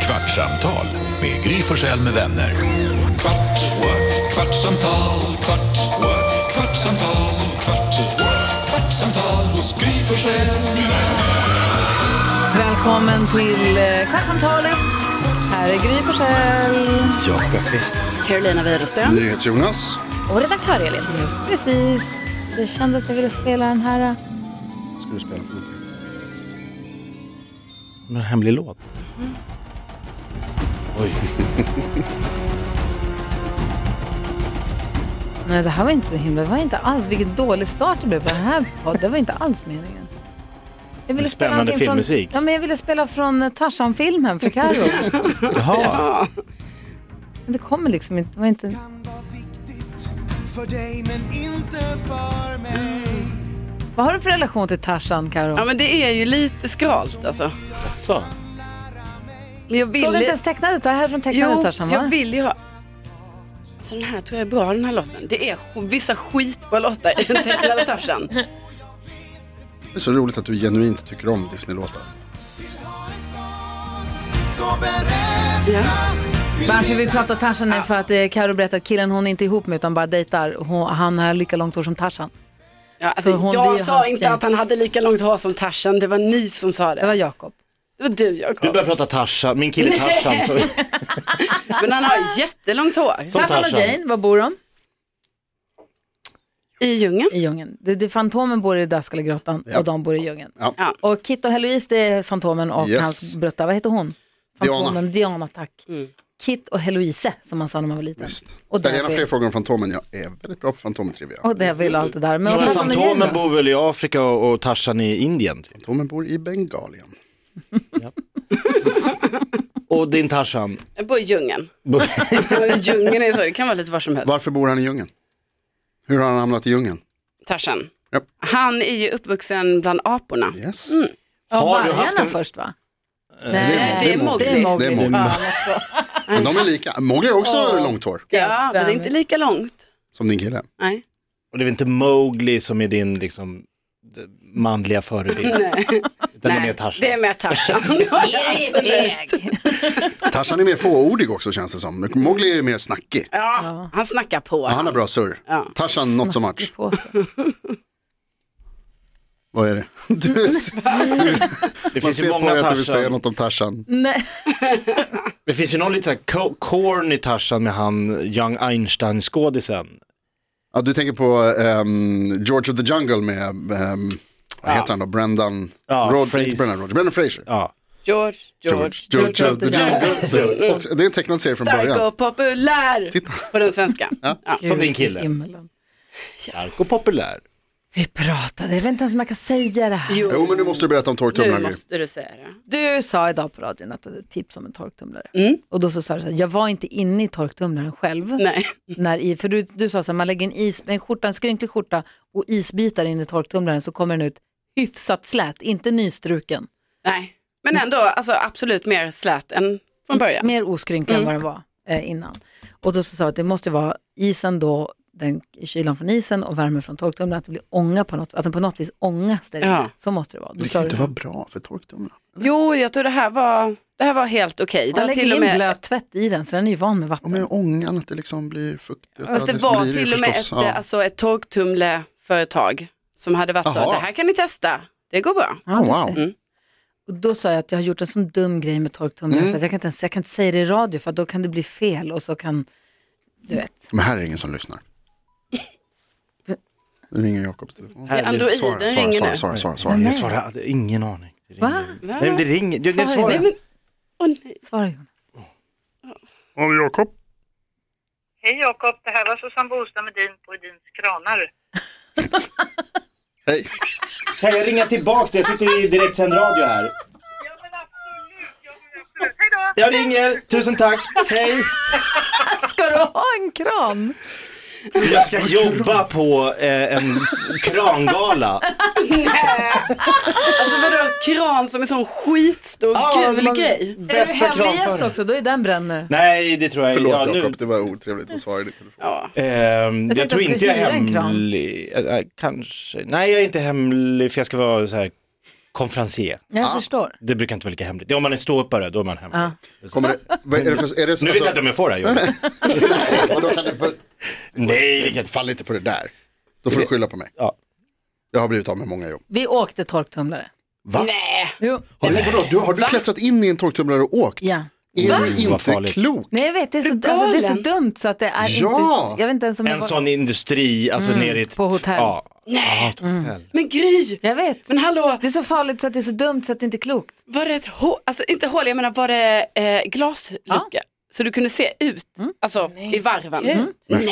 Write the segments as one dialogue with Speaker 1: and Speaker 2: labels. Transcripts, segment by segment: Speaker 1: Kvartsamtal med Gry Forssell med vänner. Kvart, what? kvartsamtal, kvart, what? kvartsamtal, kvart, what? kvartsamtal hos Gry Forssell med vänner.
Speaker 2: Välkommen till eh, Kvartsamtalet. Här är Gry Forssell.
Speaker 3: Ja, visst.
Speaker 4: Carolina Widerström.
Speaker 3: Jonas.
Speaker 2: Och redaktör Elin. Precis. Jag kände att jag ville spela den här. eh,
Speaker 3: Ska du spela för någonting? En hemlig låt. Oj.
Speaker 2: Nej, det här var inte så himla. Det var inte alls. Vilken dålig start det blev på den här podden. Det var inte alls meningen. Jag
Speaker 3: Det är spännande
Speaker 2: någonting
Speaker 3: filmmusik.
Speaker 2: Från, ja, men jag ville spela från eh, Tarzan-filmen för Carro.
Speaker 3: Jaha.
Speaker 2: Men det kommer liksom inte. Det var inte...
Speaker 5: för dig men inte för mig
Speaker 2: Vad har du för relation till Tarzan, Carro?
Speaker 4: Ja men det är ju lite skralt alltså.
Speaker 3: Jaså?
Speaker 4: Men jag vill
Speaker 2: Såg du
Speaker 4: ju-
Speaker 2: inte ens tecknad ut? Det här är från tecknade
Speaker 4: Jo,
Speaker 2: Tarzan,
Speaker 4: jag
Speaker 2: va?
Speaker 4: vill ju ha. Så den här tror jag är bra den här låten. Det är sk- vissa skitbra låtar i den tecknade Tarzan.
Speaker 6: Det är så roligt att du genuint tycker om Disney-låtar.
Speaker 5: Så berätta
Speaker 4: Ja.
Speaker 2: Varför vi pratar Tarzan är för att eh, Karo berättar att killen hon är inte ihop med utan bara dejtar, hon, han har lika långt hår som Tarzan.
Speaker 4: Ja, alltså,
Speaker 2: Så hon- det är
Speaker 4: jag
Speaker 2: ju
Speaker 4: sa
Speaker 2: hans
Speaker 4: inte
Speaker 2: grej.
Speaker 4: att han hade lika långt hår som Tarzan. Det var ni som sa
Speaker 2: Det
Speaker 4: det.
Speaker 2: var Jakob.
Speaker 4: Det var du
Speaker 3: Du
Speaker 4: Jakob.
Speaker 3: börjar prata Tarzan, min kille Tarzan. Så,
Speaker 4: Men han har jättelångt hår.
Speaker 3: som
Speaker 2: Tarzan och Jane, var bor de?
Speaker 4: I djungeln.
Speaker 2: I djungeln. Det, det, fantomen bor i Dödskallegrottan och de bor i djungeln.
Speaker 6: Ja.
Speaker 4: Ja.
Speaker 2: Och Kit och Heloise det är Fantomen och
Speaker 6: Yes.
Speaker 2: hans brutta, vad heter hon?
Speaker 6: Diana.
Speaker 2: Fantomen, Diana, tack.
Speaker 4: Mm.
Speaker 2: Kit och Heloise som man sa när man var liten.
Speaker 6: Visst.
Speaker 2: Och
Speaker 6: Ställ gärna
Speaker 2: Debbie.
Speaker 6: fler frågor om Fantomen. Jag är väldigt bra på Fantomen-trivia.
Speaker 2: Och det vill allt det där. Men,
Speaker 3: Men
Speaker 2: och Tarzan och Jane
Speaker 3: Fantomen
Speaker 2: då?
Speaker 3: bor väl i Afrika och, och Tarzan i Indien? typ.
Speaker 6: Fantomen bor i Bengalien.
Speaker 3: Och din Tarzan?
Speaker 4: Jag bor i djungeln. djungeln är så, det kan vara lite var som helst.
Speaker 6: Varför bor han i djungeln? Hur har han hamnat i djungeln?
Speaker 4: Tarzan.
Speaker 6: Japp.
Speaker 4: Han är ju uppvuxen bland aporna.
Speaker 6: Yes.
Speaker 3: Mm. Har du haft
Speaker 2: Vargarna
Speaker 3: en...
Speaker 2: först va?
Speaker 4: Nej, det är Mowgli.
Speaker 2: Det är Mowgli.
Speaker 6: Det är Mowgli.
Speaker 2: Fan också.
Speaker 6: Men de är lika. Mowgli har också långt hår.
Speaker 4: Ja, fast inte lika långt.
Speaker 6: Som din kille.
Speaker 4: Nej.
Speaker 3: Och det är väl inte Mowgli som är din liksom, d- manliga förebild?
Speaker 4: Nej.
Speaker 3: Utan det är
Speaker 4: Nej,
Speaker 3: mer Tarzan?
Speaker 4: Det är mer Tarzan.
Speaker 6: Tarzan är mer fåordig också känns det som. Mowgli är mer snackig.
Speaker 4: ja, han snackar på.
Speaker 6: Ja, han har bra surr.
Speaker 4: Ja.
Speaker 6: Tarzan, not so much.
Speaker 2: På sig.
Speaker 6: Vad är det? Du,
Speaker 3: Det
Speaker 6: man
Speaker 3: finns ju
Speaker 6: ser på
Speaker 3: många
Speaker 6: dig att du vill säga
Speaker 3: Tarzan.
Speaker 6: något om Tarzan.
Speaker 2: Nej.
Speaker 3: Det finns ju någon lite så här co- corny Tarzan med han Young Einstein-skådisen.
Speaker 6: Ja, du tänker på ehm, George of the Jungle med, ehm, vad heter han då, Brendan,
Speaker 3: Ja,
Speaker 6: Rod,
Speaker 3: Fraser.
Speaker 6: inte Brendan Rod, Brendan Fraser.
Speaker 3: Ja.
Speaker 4: George, George,
Speaker 6: George, George of the Jungle. Och Det är en tecknad serie från
Speaker 4: Stark
Speaker 6: början.
Speaker 4: och populär
Speaker 6: Titta.
Speaker 4: på den svenska. Ja.
Speaker 3: Som din kille.
Speaker 2: Gud i himlen.
Speaker 3: Stark och populär.
Speaker 2: Vi pratade, jag vet inte ens om jag kan säga det här.
Speaker 6: Jo, men nu måste du berätta om
Speaker 4: Nu
Speaker 6: torktumlaren.
Speaker 4: måste du säga det.
Speaker 2: Du sa idag på radion att du hade ett tips om en torktumlare. Och då så sa du så här, jag var inte inne i torktumlaren själv.
Speaker 4: Mm. Nej,
Speaker 2: När i, för du, du sa så här, man lägger en, is, en, skjorta, en skrynklig skjorta och isbitar in i torktumlaren så kommer den ut hyfsat slät, inte nystruken.
Speaker 4: nej. Men ändå, alltså, absolut mer slät än
Speaker 2: Mm.
Speaker 4: från början.
Speaker 2: Mer oskrynklig
Speaker 4: Mm.
Speaker 2: än vad den var eh, innan. Och då så sa jag att det måste vara isen då, den kylan från isen och värmen från torktumlaren, att det blir ånga på något, att den på något vis ångas där
Speaker 4: Ja.
Speaker 2: inne. Så måste det vara. Då
Speaker 6: Det
Speaker 2: sa
Speaker 6: kan
Speaker 2: du,
Speaker 6: inte vara bra för torktumlaren.
Speaker 4: Jo, jag tror det här var, det här var helt okej. Det
Speaker 2: man
Speaker 4: var till
Speaker 2: lägger
Speaker 4: och
Speaker 2: in
Speaker 4: med
Speaker 2: blöt tvätt i den så den är ju van med vatten.
Speaker 6: Om jag ångan att det liksom blir fuktigt.
Speaker 4: Fast det
Speaker 6: Ja,
Speaker 4: var
Speaker 6: blir det
Speaker 4: till och med ett,
Speaker 6: förstås. Ja.
Speaker 4: alltså, ett torktumleföretag som hade varit så,
Speaker 6: Jaha.
Speaker 4: det här kan ni testa, det går bra.
Speaker 2: Ja,
Speaker 6: Oh,
Speaker 2: du
Speaker 6: wow.
Speaker 2: ser. Och då sa jag att jag har gjort en sån dum grej med torktumlaren så att jag kan, inte ens, jag kan inte säga det i radio för att då kan det bli fel och så kan, du vet.
Speaker 6: Men här är ingen som lyssnar. Nu ringer Jakobs telefon.
Speaker 3: Här,
Speaker 4: Androiden
Speaker 6: Svara, svara,
Speaker 4: ringer
Speaker 6: svara,
Speaker 4: nu.
Speaker 6: svara, svara,
Speaker 3: Jag
Speaker 6: svara.
Speaker 3: svarar, ingen aning. Det ringer.
Speaker 2: Va?
Speaker 3: Nej, men det ringer. Jag, jag
Speaker 2: Svarar
Speaker 3: svarar.
Speaker 2: du?
Speaker 4: Nej, men, åh nej.
Speaker 2: Svara Jonas.
Speaker 6: Hallå Jakob.
Speaker 7: Hej Jakob, det här var Susanne Boström Edin på Edins kranar.
Speaker 6: Hej.
Speaker 3: Kan jag ringa tillbaks? Jag sitter i direktsänd radio här.
Speaker 7: Ja men absolut, ja men absolut. Hej då!
Speaker 3: Jag ringer, tusen tack, hej!
Speaker 2: Ska du ha en kran?
Speaker 3: Jag ska jobba på eh, en s- krangala.
Speaker 4: Alltså vadå, kran som är sån skitstor
Speaker 3: Ja,
Speaker 4: gul
Speaker 3: man-
Speaker 4: grej.
Speaker 2: Är du
Speaker 3: Bästa
Speaker 2: hemligast
Speaker 3: kranförare.
Speaker 2: också? Då är den bränd nu.
Speaker 3: Nej, det tror jag
Speaker 6: Förlåt
Speaker 3: ja, nu-
Speaker 6: Jakob, det var otrevligt att svara i din telefon.
Speaker 4: Ja.
Speaker 3: Ehm, jag,
Speaker 2: tänkte
Speaker 3: tror
Speaker 2: att jag
Speaker 3: inte jag
Speaker 2: skulle
Speaker 3: är
Speaker 2: hyra en kran.
Speaker 3: hemlig. Eh, eh, kanske. Nej, jag är inte hemlig för jag ska vara så här konferencier.
Speaker 2: Jag förstår.
Speaker 3: Det brukar inte vara lika hemligt. Ja, om man är ståuppare, då är man hemlig.
Speaker 6: Kommer det, vad är det för, är det,
Speaker 3: Nu vet jag inte om jag får det här jobbet.
Speaker 6: alltså, vadå, kan du,
Speaker 3: Nej, det kan jag inte.
Speaker 6: fall inte på det där. Då får du skylla på mig.
Speaker 3: Ja.
Speaker 6: Jag har blivit av med många jobb.
Speaker 2: Vi åkte torktumlare.
Speaker 6: Va?
Speaker 4: Nej,
Speaker 2: Jo.
Speaker 6: Nej, vadå, du, har du klättrat in i en torktumlare och åkt?
Speaker 2: Ja.
Speaker 6: Är du
Speaker 3: Oj, vad
Speaker 6: inte
Speaker 3: farligt.
Speaker 6: klok?
Speaker 2: Nej jag vet, det är, så,
Speaker 4: Du är
Speaker 2: alltså, det är så
Speaker 4: galen.
Speaker 2: dumt så att det är
Speaker 6: Ja!
Speaker 2: inte, jag vet inte ens om jag
Speaker 3: En
Speaker 2: var-
Speaker 3: sån industri, alltså nere i ett...
Speaker 2: på hotell.
Speaker 3: Ja.
Speaker 4: nej.
Speaker 3: hotell.
Speaker 4: Men Gry,
Speaker 2: Jag vet,
Speaker 4: men hallå,
Speaker 2: det är så farligt så att det är så dumt så att det inte är klokt.
Speaker 4: var det ett hål, alltså inte hål, jag menar var det eh, glaslucka? Så du kunde se ut, alltså i varven? Mm.
Speaker 6: Men fy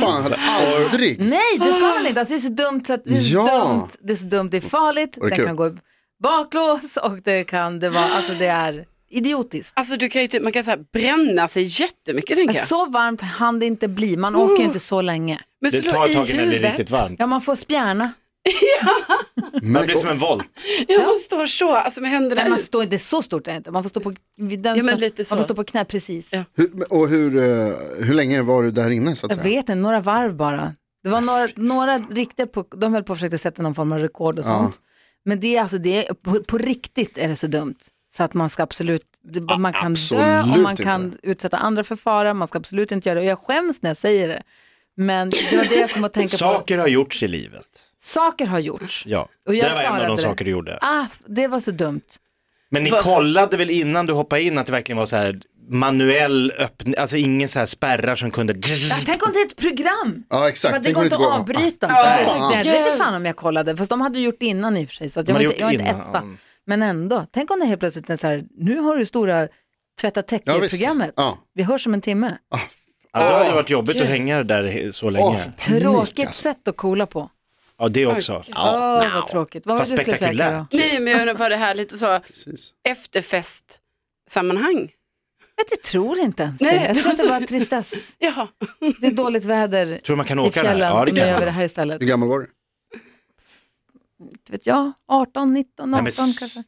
Speaker 6: fan, hade aldrig.
Speaker 2: Nej det ska man inte, alltså, det är så dumt så att det är så
Speaker 6: Ah. Ja.
Speaker 2: dumt, det är så dumt, det är farligt,
Speaker 6: Och det är
Speaker 2: den
Speaker 6: kul.
Speaker 2: kan gå baklås och det kan, det var, alltså det är idiotiskt. Alltså,
Speaker 4: Alltså du kan ju typ, man kan så här bränna sig jättemycket tänker jag.
Speaker 2: Så varmt hann det inte bli, man åker ju inte så länge.
Speaker 4: Men
Speaker 3: Det
Speaker 4: slå
Speaker 3: tar
Speaker 4: i
Speaker 3: ett tag innan det blir
Speaker 4: huvudet.
Speaker 3: riktigt varmt.
Speaker 2: Ja man får spjärna,
Speaker 6: Men,
Speaker 3: Det blir som en volt.
Speaker 4: Ja, man står så, alltså med händerna
Speaker 2: Nej, man
Speaker 6: Äh.
Speaker 4: i.
Speaker 2: står, det är så stort är det inte, man får stå på, den,
Speaker 4: Ja, men lite så.
Speaker 2: Man får stå på knä precis.
Speaker 4: Ja.
Speaker 6: hur, och hur, eh, hur länge var du där inne så att
Speaker 2: Jag
Speaker 6: säga?
Speaker 2: vet inte, några varv bara. Det var några, några riktiga, på, de höll på att försöka sätta någon form av rekord och sånt. Men det är alltså, det är, på, på riktigt är det så dumt. Så att man ska absolut, det, man kan dö och
Speaker 6: absolut
Speaker 2: man kan
Speaker 6: inte.
Speaker 2: utsätta andra för fara, man ska absolut inte göra det. Och jag skäms när jag säger det. Men det var det jag kom att tänka på.
Speaker 3: Saker har gjorts i livet.
Speaker 2: Saker har gjorts.
Speaker 3: Ja.
Speaker 2: Och
Speaker 3: det
Speaker 2: jag
Speaker 3: var en av
Speaker 2: klarade
Speaker 3: de
Speaker 2: det.
Speaker 3: saker du gjorde.
Speaker 2: Ah, det var så dumt.
Speaker 3: Men ni kollade väl innan du hoppade in att det verkligen var så här manuell öppning, alltså ingen så här spärrar som kunde...
Speaker 2: Ja, tänk om det är ett program.
Speaker 6: Ja
Speaker 2: Men
Speaker 6: exakt,
Speaker 2: det går inte att avbryta. Det-
Speaker 6: fan.
Speaker 2: det- Jag vet inte fan om jag kollade, fast de hade gjort innan i och för sig, så att jag,
Speaker 3: De
Speaker 2: var
Speaker 3: hade
Speaker 2: inte, jag var
Speaker 3: gjort
Speaker 2: inte
Speaker 3: innan,
Speaker 2: etta.
Speaker 3: ja.
Speaker 2: Men ändå, tänk om det helt plötsligt är så här, nu har du stora tvätta
Speaker 6: Ja, visst.
Speaker 2: täcket-programmet.
Speaker 6: Ja.
Speaker 2: Vi hörs om en timme.
Speaker 3: Ja, det hade varit jobbigt att hänga där så länge.
Speaker 2: Tråkigt
Speaker 6: alltså.
Speaker 2: sätt att coola på.
Speaker 3: Ja, det också.
Speaker 2: Åh, vad tråkigt. Vad var
Speaker 3: Fast
Speaker 2: det du skulle säga Karo?
Speaker 3: spektakulärt.
Speaker 4: Nej, men jag undrar vad det här lite så
Speaker 6: Precis.
Speaker 4: efterfest-sammanhang.
Speaker 2: Vet, Jag tror inte ens
Speaker 4: Nej,
Speaker 2: det. Jag
Speaker 4: det
Speaker 2: tror
Speaker 4: var
Speaker 2: att det
Speaker 4: så-
Speaker 2: var tristess.
Speaker 4: Jaha.
Speaker 2: Det är dåligt väder
Speaker 3: Tror du man kan
Speaker 2: i
Speaker 3: åka där?
Speaker 2: fjällen.
Speaker 3: Ja, det
Speaker 2: Nu
Speaker 3: kan
Speaker 2: gör vi det
Speaker 3: man.
Speaker 2: här istället.
Speaker 6: Hur gammal var du?
Speaker 2: Inte Vet jag, 18, 19, 18
Speaker 3: Nej, men s-
Speaker 2: kanske.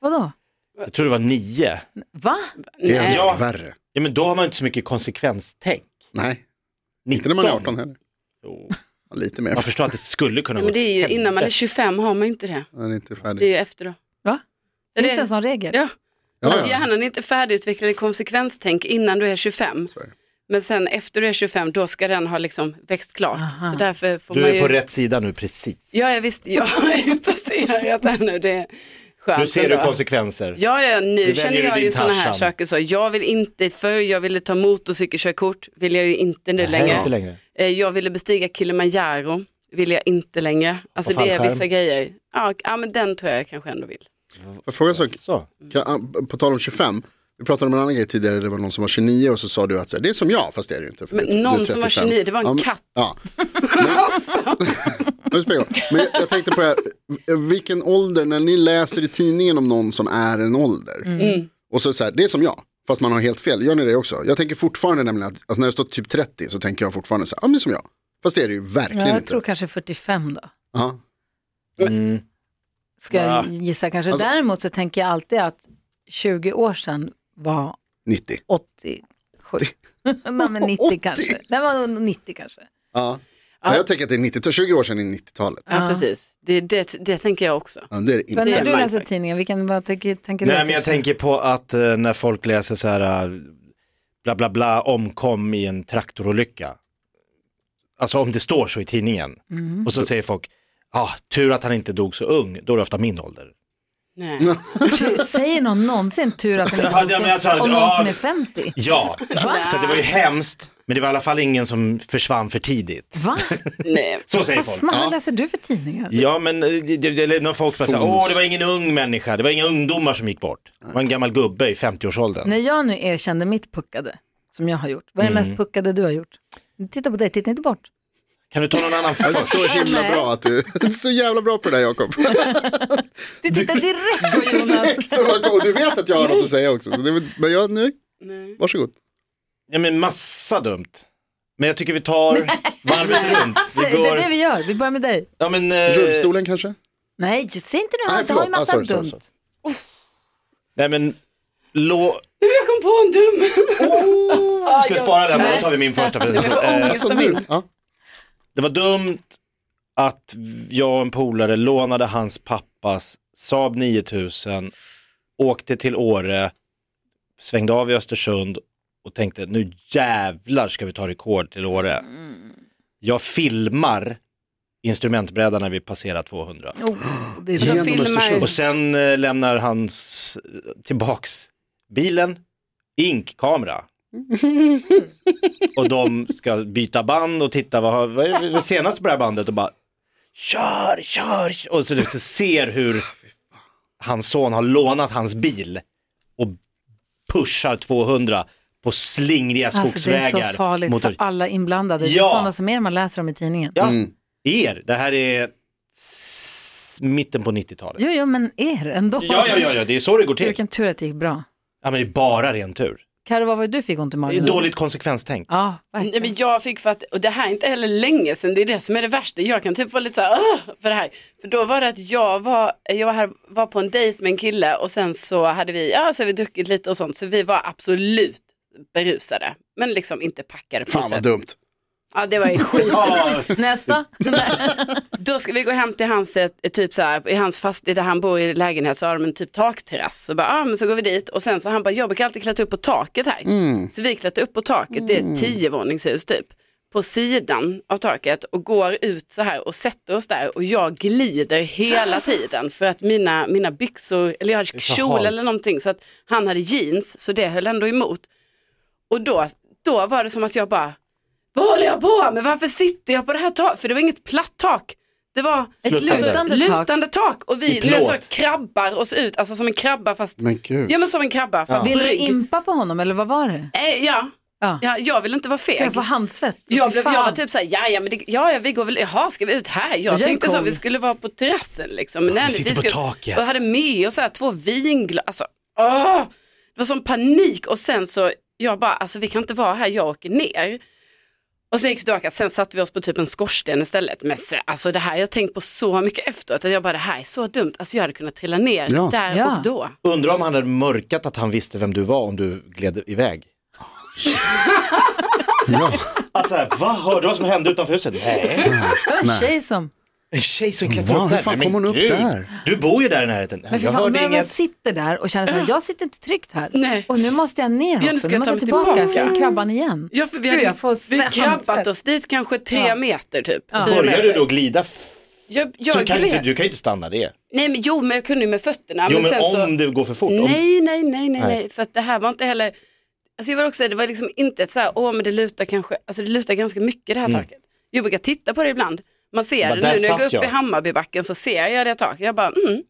Speaker 2: Vadå?
Speaker 3: Jag tror det var nio.
Speaker 2: Va?
Speaker 6: Det är
Speaker 3: Ja.
Speaker 6: värre.
Speaker 3: Ja, men då har man inte så mycket konsekvenstänk.
Speaker 6: Nej,
Speaker 3: 19.
Speaker 6: inte när man är 18 heller.
Speaker 3: Jo.
Speaker 6: Ja, lite mer.
Speaker 3: Man förstår att det skulle kunna
Speaker 4: Ja,
Speaker 3: gå
Speaker 4: men det är ju,
Speaker 3: åt
Speaker 4: innan man är
Speaker 3: helvete.
Speaker 4: 25 har man inte det.
Speaker 6: Den är inte
Speaker 4: Det är
Speaker 6: färdig.
Speaker 4: ju efter då.
Speaker 2: Va?
Speaker 4: Ja,
Speaker 2: Finns
Speaker 4: det-
Speaker 2: det en sån regel?
Speaker 4: Ja,
Speaker 6: Ja,
Speaker 2: Alltså,
Speaker 4: att
Speaker 6: ja.
Speaker 4: hjärnan är inte färdigutvecklad i konsekvenstänk innan du är 25.
Speaker 6: Så är det.
Speaker 4: Men sen efter du är 25, då ska den ha liksom växt klart.
Speaker 2: Aha.
Speaker 4: Så därför får man
Speaker 3: Du
Speaker 4: ju...
Speaker 3: är på rätt sida nu precis.
Speaker 4: Ja, jag visste, jag har ju passerat det här nu. Det är skönt
Speaker 3: Nu ser du
Speaker 4: ändå.
Speaker 3: konsekvenser.
Speaker 4: Ja, ja, nu
Speaker 3: väljer
Speaker 4: känner
Speaker 3: du
Speaker 4: jag
Speaker 3: din
Speaker 4: ju sådana här
Speaker 3: Tarzan.
Speaker 4: saker så. Jag vill inte, förr jag ville ta motorcykelkörkort, vill jag ju inte nu längre.
Speaker 3: Inte längre.
Speaker 4: Eh, Jag ville bestiga Kilimanjaro, vill jag inte längre. Alltså
Speaker 3: Och
Speaker 4: det är
Speaker 3: fallskärm.
Speaker 4: vissa grejer. Ja, k- ja, men den tror jag kanske ändå vill.
Speaker 6: Får jag fråga en sak?
Speaker 3: Så.
Speaker 6: Kan, ah, på tal om 25, vi pratade om en annan grej tidigare, det var någon som var 29 och så sa du att så här, det är som jag, fast det är det ju inte. för
Speaker 4: Men
Speaker 6: du- du är
Speaker 4: någon som var
Speaker 6: 35.
Speaker 4: 29, det var en
Speaker 6: men-
Speaker 4: katt.
Speaker 6: Ja. Men, det spelar ingen roll. men jag, jag tänkte på det här, vilken ålder, när ni läser i tidningen om någon som är en ålder,
Speaker 2: Mm.
Speaker 4: Mm.
Speaker 6: och så, så här, det är som jag. Fast man har helt fel, gör ni det också? Jag tänker fortfarande nämligen att, alltså när jag står typ 30 så tänker jag fortfarande så här, ja men det är som jag. Fast det är det ju verkligen
Speaker 2: Ja, jag
Speaker 6: inte.
Speaker 2: tror kanske 45 då.
Speaker 6: Ja.
Speaker 3: Mm.
Speaker 2: ska
Speaker 3: Ja.
Speaker 2: jag gissa kanske.
Speaker 6: Alltså-
Speaker 2: Däremot så tänker jag alltid att 20 år sedan var
Speaker 6: 90.
Speaker 2: 87. Nej men 90 kanske.
Speaker 6: 80.
Speaker 2: Nej men 90 kanske.
Speaker 6: Ja. Ja, jag tänker att det är 90, 20 år sedan är 90-talet.
Speaker 4: Ja, precis. Det, det, det tänker jag också.
Speaker 6: Ja, det är det
Speaker 2: Men när
Speaker 6: inte.
Speaker 4: är
Speaker 2: du
Speaker 4: en
Speaker 2: läser
Speaker 4: mindfuck.
Speaker 2: tidningen, vilken, vad tänker, tänker du?
Speaker 3: Nej
Speaker 2: att
Speaker 3: men jag
Speaker 2: du-
Speaker 3: tänker på att eh, när folk läser så här eh, bla bla bla omkom i en traktorolycka. Alltså om det står så i tidningen
Speaker 2: Mm.
Speaker 3: och så säger folk, ah, tur att han inte dog så ung, då är det ofta min ålder.
Speaker 4: Nej.
Speaker 2: Tur- Säger någon någonsin tur att den
Speaker 3: Ja, det-
Speaker 2: inte
Speaker 3: men jag tror
Speaker 2: någonsin,
Speaker 3: att-
Speaker 2: om någon
Speaker 3: ja.
Speaker 2: som är 50?
Speaker 3: Ja, så det var ju hemskt, men det var i alla fall ingen som försvann för tidigt.
Speaker 2: Va?
Speaker 4: Nej.
Speaker 3: Så säger
Speaker 2: Vad
Speaker 3: folk.
Speaker 2: smart, vad läser du för alltså? tidningar?
Speaker 3: Ja men eh, det- det- eller när folk bara säger, åh det var ingen ung människa, det var inga ungdomar som gick bort. Det var en gammal gubbe i 50-årsåldern.
Speaker 2: När jag nu erkände mitt puckade, som jag har gjort, vad är det
Speaker 3: Mm.
Speaker 2: mest puckade du har gjort? Titta på dig, titta inte bort.
Speaker 3: Kan du ta någon annan
Speaker 6: Det är
Speaker 3: först?
Speaker 6: så himla
Speaker 2: Nej.
Speaker 6: bra att du, du är så jävla bra på det där Jakob.
Speaker 2: Du tittar direkt på Jonas.
Speaker 6: Så man kommer- du vet att jag har något att säga också. Så det, är- men jag, nu, varsågod.
Speaker 3: Ja men massa dumt. Men jag tycker vi tar varvet runt.
Speaker 2: Alltså, Det
Speaker 3: Vi
Speaker 2: är det
Speaker 3: går,
Speaker 2: vi gör, vi börjar med dig.
Speaker 3: ja men, eh,
Speaker 6: Rullstolen kanske?
Speaker 2: Nej, säg inte du
Speaker 6: Nej,
Speaker 2: allt, det har ju
Speaker 6: förlåt. Ah,
Speaker 2: massa
Speaker 6: sorry, sorry,
Speaker 2: dumt.
Speaker 6: sorry.
Speaker 3: nej men, lå, Oh!
Speaker 4: Jag kom på en dum.
Speaker 3: ska jag spara den men då tar vi min första för den. Så, eh,
Speaker 6: Alltså nu, ja.
Speaker 3: det var dumt att jag och en polare lånade hans pappas Saab 9000, åkte till Åre, svängde av i Östersund och tänkte nu jävlar ska vi ta rekord till Åre.
Speaker 2: Mm.
Speaker 3: Jag filmar instrumentbrädan när vi passerar 200.
Speaker 2: Oh, det är
Speaker 4: Så
Speaker 6: Genom
Speaker 4: Alltså, filmar-
Speaker 6: Östersund.
Speaker 3: Och sen eh, lämnar han s- tillbaks bilen, inkkamera. och de ska byta band och titta vad, har- vad är det senaste på det här bandet och bara kör, kör, kör. och så du ser hur hans son har lånat hans bil och pushar 200 på slingriga
Speaker 2: Alltså det är
Speaker 3: skogsvägar.
Speaker 2: så farligt
Speaker 3: mot-
Speaker 2: för alla inblandade. Det är
Speaker 3: Ja.
Speaker 2: sådana som er man läser om i tidningen.
Speaker 3: ja, er, det här är s- mitten på 90-talet.
Speaker 2: Jo, jo, men er ändå.
Speaker 3: Ja, ja, ja, ja, det är så det går
Speaker 2: Gud,
Speaker 3: till.
Speaker 2: Vilken tur att det gick bra.
Speaker 3: Ja, men det är bara ren tur.
Speaker 2: Carro, vad var det du fick ont i
Speaker 3: Det är
Speaker 2: magen?
Speaker 3: dåligt konsekvenstänk.
Speaker 2: Ja,
Speaker 4: Nej,
Speaker 2: verkligen.
Speaker 4: men jag fick för att, och det här är inte heller länge sedan, det är det som är det värsta. Jag kan typ vara lite så här, "Åh!" för det här. För då var det att jag var, jag var, här, var på en dejt med en kille och sen så hade vi, ja så hade vi druckit lite och sånt. Så vi var absolut berusade, men liksom inte packade på
Speaker 6: Fan
Speaker 4: något
Speaker 6: vad
Speaker 4: sätt.
Speaker 6: dumt.
Speaker 4: Ja det var ju skit.
Speaker 2: Nästa.
Speaker 4: Då ska vi gå hem till hans, eh, typ så här, i hans fastighet där han bor i lägenhet så har de en typ takterrass. Så bara, ah, men så går vi dit och sen så han bara, jag brukar alltid klättra upp på taket här.
Speaker 3: Mm.
Speaker 4: Så vi klättrar upp på taket, det är ett tiovåningshus typ. På sidan av taket och går ut så här och sätter oss där och jag glider hela tiden för att mina, mina byxor, eller jag hade
Speaker 3: så
Speaker 4: kjol
Speaker 3: halt.
Speaker 4: eller någonting så att han hade jeans så det höll ändå emot. Och då, då var det som att jag bara, vad håller jag på med? Varför sitter jag på det här taket? För det var inget platt tak. Det var
Speaker 2: Ett
Speaker 3: Sluttande.
Speaker 2: lutande tak.
Speaker 4: lutande tak och vi
Speaker 3: I
Speaker 4: du vet, så
Speaker 3: plåt.
Speaker 4: krabbar oss ut, alltså som en krabba fast,
Speaker 6: Men gud.
Speaker 4: ja men som en krabba fast
Speaker 2: Vill du
Speaker 4: brygg.
Speaker 2: impa på honom eller vad var det?
Speaker 4: Eh, ja.
Speaker 2: Ja.
Speaker 4: ja, jag vill inte vara feg.
Speaker 2: Jag får handsvett.
Speaker 4: Jag, blev, jag var
Speaker 2: Fan.
Speaker 4: typ såhär, ja ja, men det, ja, ja vi går väl, jaha ska vi ut här? Jag
Speaker 2: Jag är
Speaker 4: tänkte så,
Speaker 2: cool.
Speaker 4: vi skulle vara på terrassen liksom. Men nej,
Speaker 3: sitter på
Speaker 4: skulle,
Speaker 3: taket.
Speaker 4: Och hade med oss så här, två vinglas, alltså, åh, det var sån panik och sen så, jag bara, alltså vi kan inte vara här, jag åker ner. Och sen gick det tillbaka, sen satte vi oss på typ en skorsten istället. Men se, alltså det här, jag har tänkt på så mycket efteråt, att jag bara, det här är så dumt, alltså jag hade kunnat trilla ner
Speaker 6: Ja.
Speaker 4: där
Speaker 2: Ja.
Speaker 4: och då.
Speaker 3: Undrar om han hade mörkat att han visste vem du var om du gled iväg.
Speaker 6: Ja.
Speaker 3: Alltså, här, vad hörde du vad som hände utanför huset? Nej.
Speaker 2: Det var en tjej som...
Speaker 3: En tjej som klättrade
Speaker 6: Wow,
Speaker 3: upp
Speaker 6: hur
Speaker 3: där.
Speaker 6: fan
Speaker 3: Nej,
Speaker 6: kom
Speaker 3: men
Speaker 6: hon upp
Speaker 3: gud.
Speaker 6: där?
Speaker 3: Du bor ju där i närheten. Nej,
Speaker 2: Men för
Speaker 3: jag
Speaker 2: fan,
Speaker 3: hörde
Speaker 2: men man
Speaker 3: inget.
Speaker 2: sitter där och känner så här, jag sitter inte tryggt här.
Speaker 4: Nej.
Speaker 2: Och nu måste jag ner
Speaker 4: nu
Speaker 2: också.
Speaker 4: ska
Speaker 2: nu
Speaker 4: jag
Speaker 2: måste
Speaker 4: ta
Speaker 2: jag
Speaker 4: mig
Speaker 2: tillbaka,
Speaker 4: tillbaka.
Speaker 2: ska jag i krabban igen.
Speaker 4: Ja, för vi
Speaker 2: Gud,
Speaker 4: hade,
Speaker 2: jag får
Speaker 4: vi
Speaker 2: sve-
Speaker 4: krabbat
Speaker 2: handsvett.
Speaker 4: oss dit kanske tre
Speaker 2: Ja.
Speaker 4: meter typ.
Speaker 2: Ja.
Speaker 4: Fyra
Speaker 3: Börjar
Speaker 4: meter.
Speaker 3: du då glida? f-
Speaker 4: Jag,
Speaker 3: Så
Speaker 4: jag
Speaker 3: kan
Speaker 4: gled.
Speaker 3: inte, du kan ju inte stanna det.
Speaker 4: Nej men jo men jag kunde ju med fötterna.
Speaker 3: Jo,
Speaker 4: men sen
Speaker 3: men
Speaker 4: så...
Speaker 3: om det går för fort. om-
Speaker 4: Nej, nej, nej, nej,
Speaker 3: Nej.
Speaker 4: nej, för att det här var inte heller, alltså jag var också, det var liksom inte ett så här, åh men det lutar kanske, alltså det lutar ganska mycket det här taket. Jag brukar titta på det ibland, man ser
Speaker 3: Men
Speaker 4: det
Speaker 3: Mm. där
Speaker 4: nu när jag går
Speaker 3: satt
Speaker 4: upp
Speaker 3: jag.
Speaker 4: i Hammarbybacken så ser jag det taket, jag bara, mm,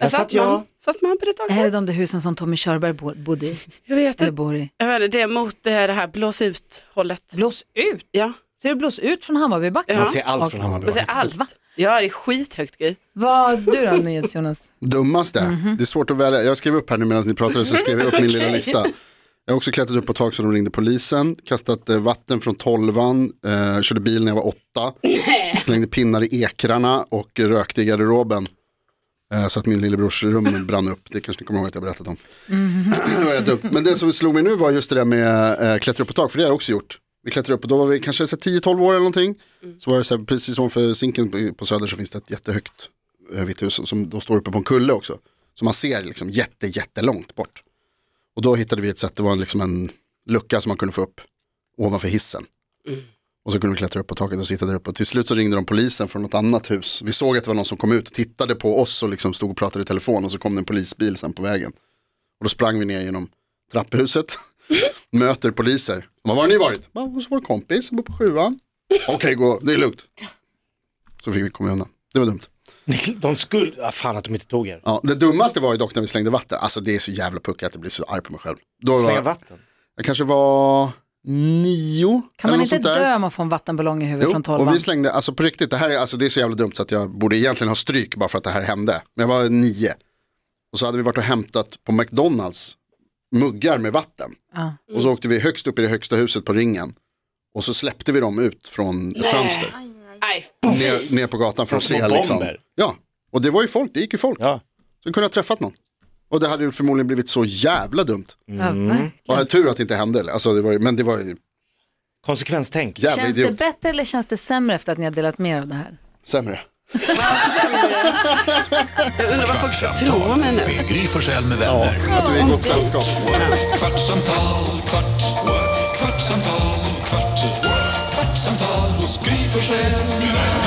Speaker 4: där satt
Speaker 3: satt jag.
Speaker 4: man, satt man på det
Speaker 2: Det här är
Speaker 4: taket.
Speaker 2: de där husen som Tommy Körberg bo- bodde i,
Speaker 4: Jag vet
Speaker 2: eller
Speaker 4: inte,
Speaker 2: bor i.
Speaker 4: jag hörde det är mot eh, det här blås ut hållet.
Speaker 2: Blås ut?
Speaker 4: Ja,
Speaker 2: Ser du blås ut från Hammarbybacken?
Speaker 4: Ja.
Speaker 3: Man ser allt från honom.
Speaker 4: man ser allt.
Speaker 2: Va?
Speaker 4: Ja, det är skithögt Gry.
Speaker 2: Vad du då, nyhets, Jonas?
Speaker 6: Dummaste. Det är svårt att välja. Jag skrev upp här nu medan ni pratade så skrev jag upp min lilla lista. Jag har också klättrat upp på tak så de ringde polisen, kastat eh, vatten från tolvan, eh, körde bil när jag var åtta, slängde pinnar i ekrarna och rökte i garderoben. Eh, så att min lillebrors rum brann upp, det kanske ni kommer ihåg att jag berättat om. det var rätt dumt. Men det som slog mig nu var just det där med eh, klättra upp på tak, för det har jag också gjort. Vi klättrade upp och då var vi kanske så här 10-12 år eller någonting. Så var det så här, precis ovanför Zinken på- på Söder så finns det ett jättehögt eh, vitt hus som- som då står uppe på en kulle också. Så man ser liksom jätte, jättelångt bort. Och då hittade vi ett sätt, det var liksom en lucka som man kunde få upp ovanför hissen. Och så kunde vi klättra upp på taket och sitta där uppe. Och till slut så ringde de polisen från något annat hus. Vi såg att det var någon som kom ut och tittade på oss och liksom stod och pratade i telefon. Och så kom det en polisbil sen på vägen. Och då sprang vi ner genom trapphuset. Möter poliser. De bara, var har ni varit? Bara, hos vår kompis, som bor på sjuan. Okej, gå, det är lugnt. Så fick vi komma undan. Det var dumt.
Speaker 3: De skulle, ah, fan att de inte tog er.
Speaker 6: Ja, det dummaste var ju dock när vi slängde vatten. Alltså det är så jävla puckat att det blir så arg på mig själv. Då
Speaker 3: Slänga
Speaker 6: var,
Speaker 3: vatten.
Speaker 6: jag kanske var nio.
Speaker 2: Kan
Speaker 6: eller
Speaker 2: man
Speaker 6: något
Speaker 2: inte
Speaker 6: sånt där.
Speaker 2: dö om man får en vattenballong i huvudet
Speaker 6: Jo,
Speaker 2: från
Speaker 6: och
Speaker 2: tolvan?
Speaker 6: vi slängde, alltså på riktigt, det här är, alltså det är så jävla dumt så att jag borde egentligen ha stryk bara för att det här hände. Men jag var nio. Och så hade vi varit och hämtat på McDonalds muggar med vatten.
Speaker 2: Ja.
Speaker 6: Och så åkte vi högst upp i det högsta huset på ringen. Och så släppte vi dem ut från ett fönster.
Speaker 4: Nej,
Speaker 6: Ner, ner på gatan för att
Speaker 3: Som
Speaker 6: se
Speaker 3: små
Speaker 6: liksom.
Speaker 3: bomber.
Speaker 6: Ja, och det var ju folk, det gick ju folk.
Speaker 3: Ja.
Speaker 6: Så kunde jag ha träffat någon. Och det hade ju förmodligen blivit så jävla dumt. Mm.
Speaker 2: Ja, verkligen.
Speaker 6: Och jag har tur att det inte hände, alltså, det var ju, men det var ju
Speaker 3: Konsekvenstänk.
Speaker 6: jävla
Speaker 2: Känns
Speaker 6: idiot.
Speaker 2: det bättre eller känns det sämre efter att ni har delat med er av det här?
Speaker 6: Sämre.
Speaker 4: Jag undrar vad folk ska tro om mig nu.
Speaker 1: med Gry Forssell med vänner.
Speaker 6: Att du är i gott sällskap.
Speaker 1: What? Kvartsamtal, kvart, what? kvartsamtal, kvart, what? kvartsamtal hos Gry Forssell med vänner.